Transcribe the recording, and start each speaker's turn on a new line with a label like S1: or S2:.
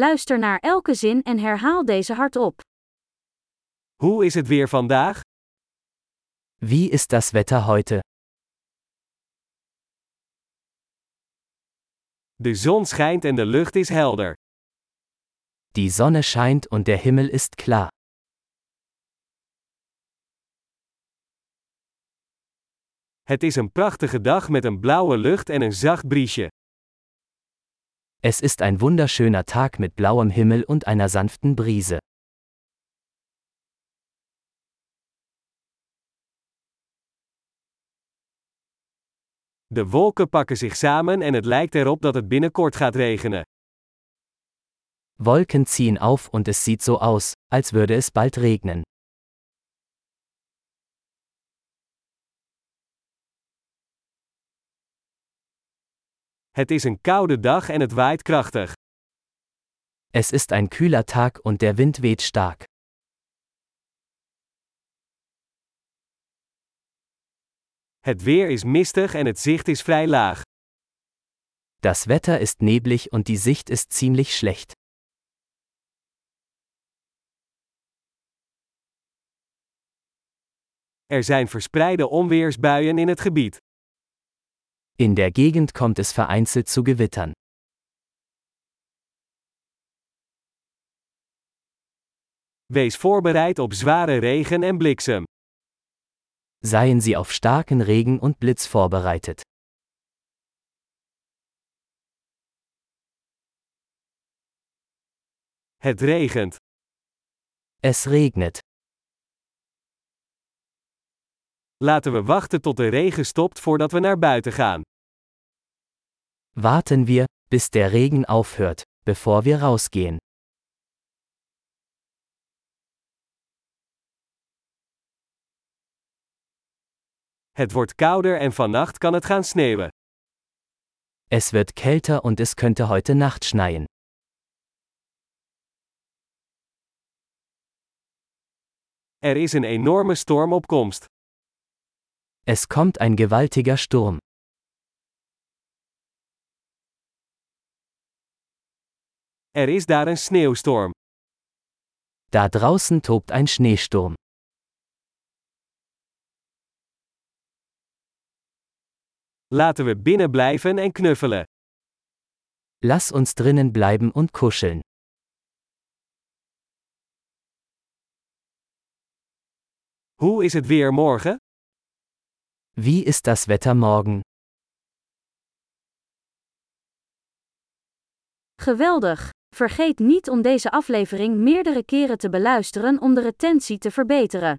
S1: Luister naar elke zin en herhaal deze hardop.
S2: Hoe is het weer vandaag?
S3: Wie ist das Wetter heute?
S2: De zon schijnt en de lucht is helder.
S3: Die Sonne scheint und der Himmel ist klar.
S2: Het is een prachtige dag met een blauwe lucht en een zacht briesje.
S3: Es ist ein wunderschöner Tag mit blauem Himmel und einer sanften Brise.
S2: De wolken pakken zich samen en het lijkt erop dat het binnenkort gaat regenen.
S3: Wolken ziehen auf und es sieht so aus, als würde es bald regnen.
S2: Het is een koude dag en het waait krachtig.
S3: Es ist ein kühler Tag und der Wind weht stark.
S2: Het weer is mistig en het zicht is vrij laag.
S3: Das Wetter ist neblig und die Sicht ist ziemlich schlecht.
S2: Er zijn verspreide onweersbuien in het gebied.
S3: In der Gegend kommt es vereinzelt zu Gewittern.
S2: Wees voorbereid op zware regen en bliksem.
S3: Seien Sie auf starken Regen und Blitz vorbereitet.
S2: Het regent.
S3: Es regnet.
S2: Laten we wachten tot de regen stopt voordat we naar buiten gaan.
S3: Warten wir, bis der Regen aufhört, bevor wir rausgehen.
S2: Het wordt kouder en vannacht kan het gaan sneeuwen.
S3: Es wird kälter und es könnte heute Nacht schneien.
S2: Er is een enorme storm op komst.
S3: Es kommt ein gewaltiger Sturm.
S2: Er is daar een sneeuwstorm.
S3: Da draußen tobt ein Schneesturm.
S2: Laten we binnen blijven en knuffelen.
S3: Lass uns drinnen bleiben und kuscheln.
S2: Hoe is het weer morgen?
S3: Wie ist das Wetter morgen?
S1: Geweldig! Vergeet niet om deze aflevering meerdere keren te beluisteren om de retentie te verbeteren.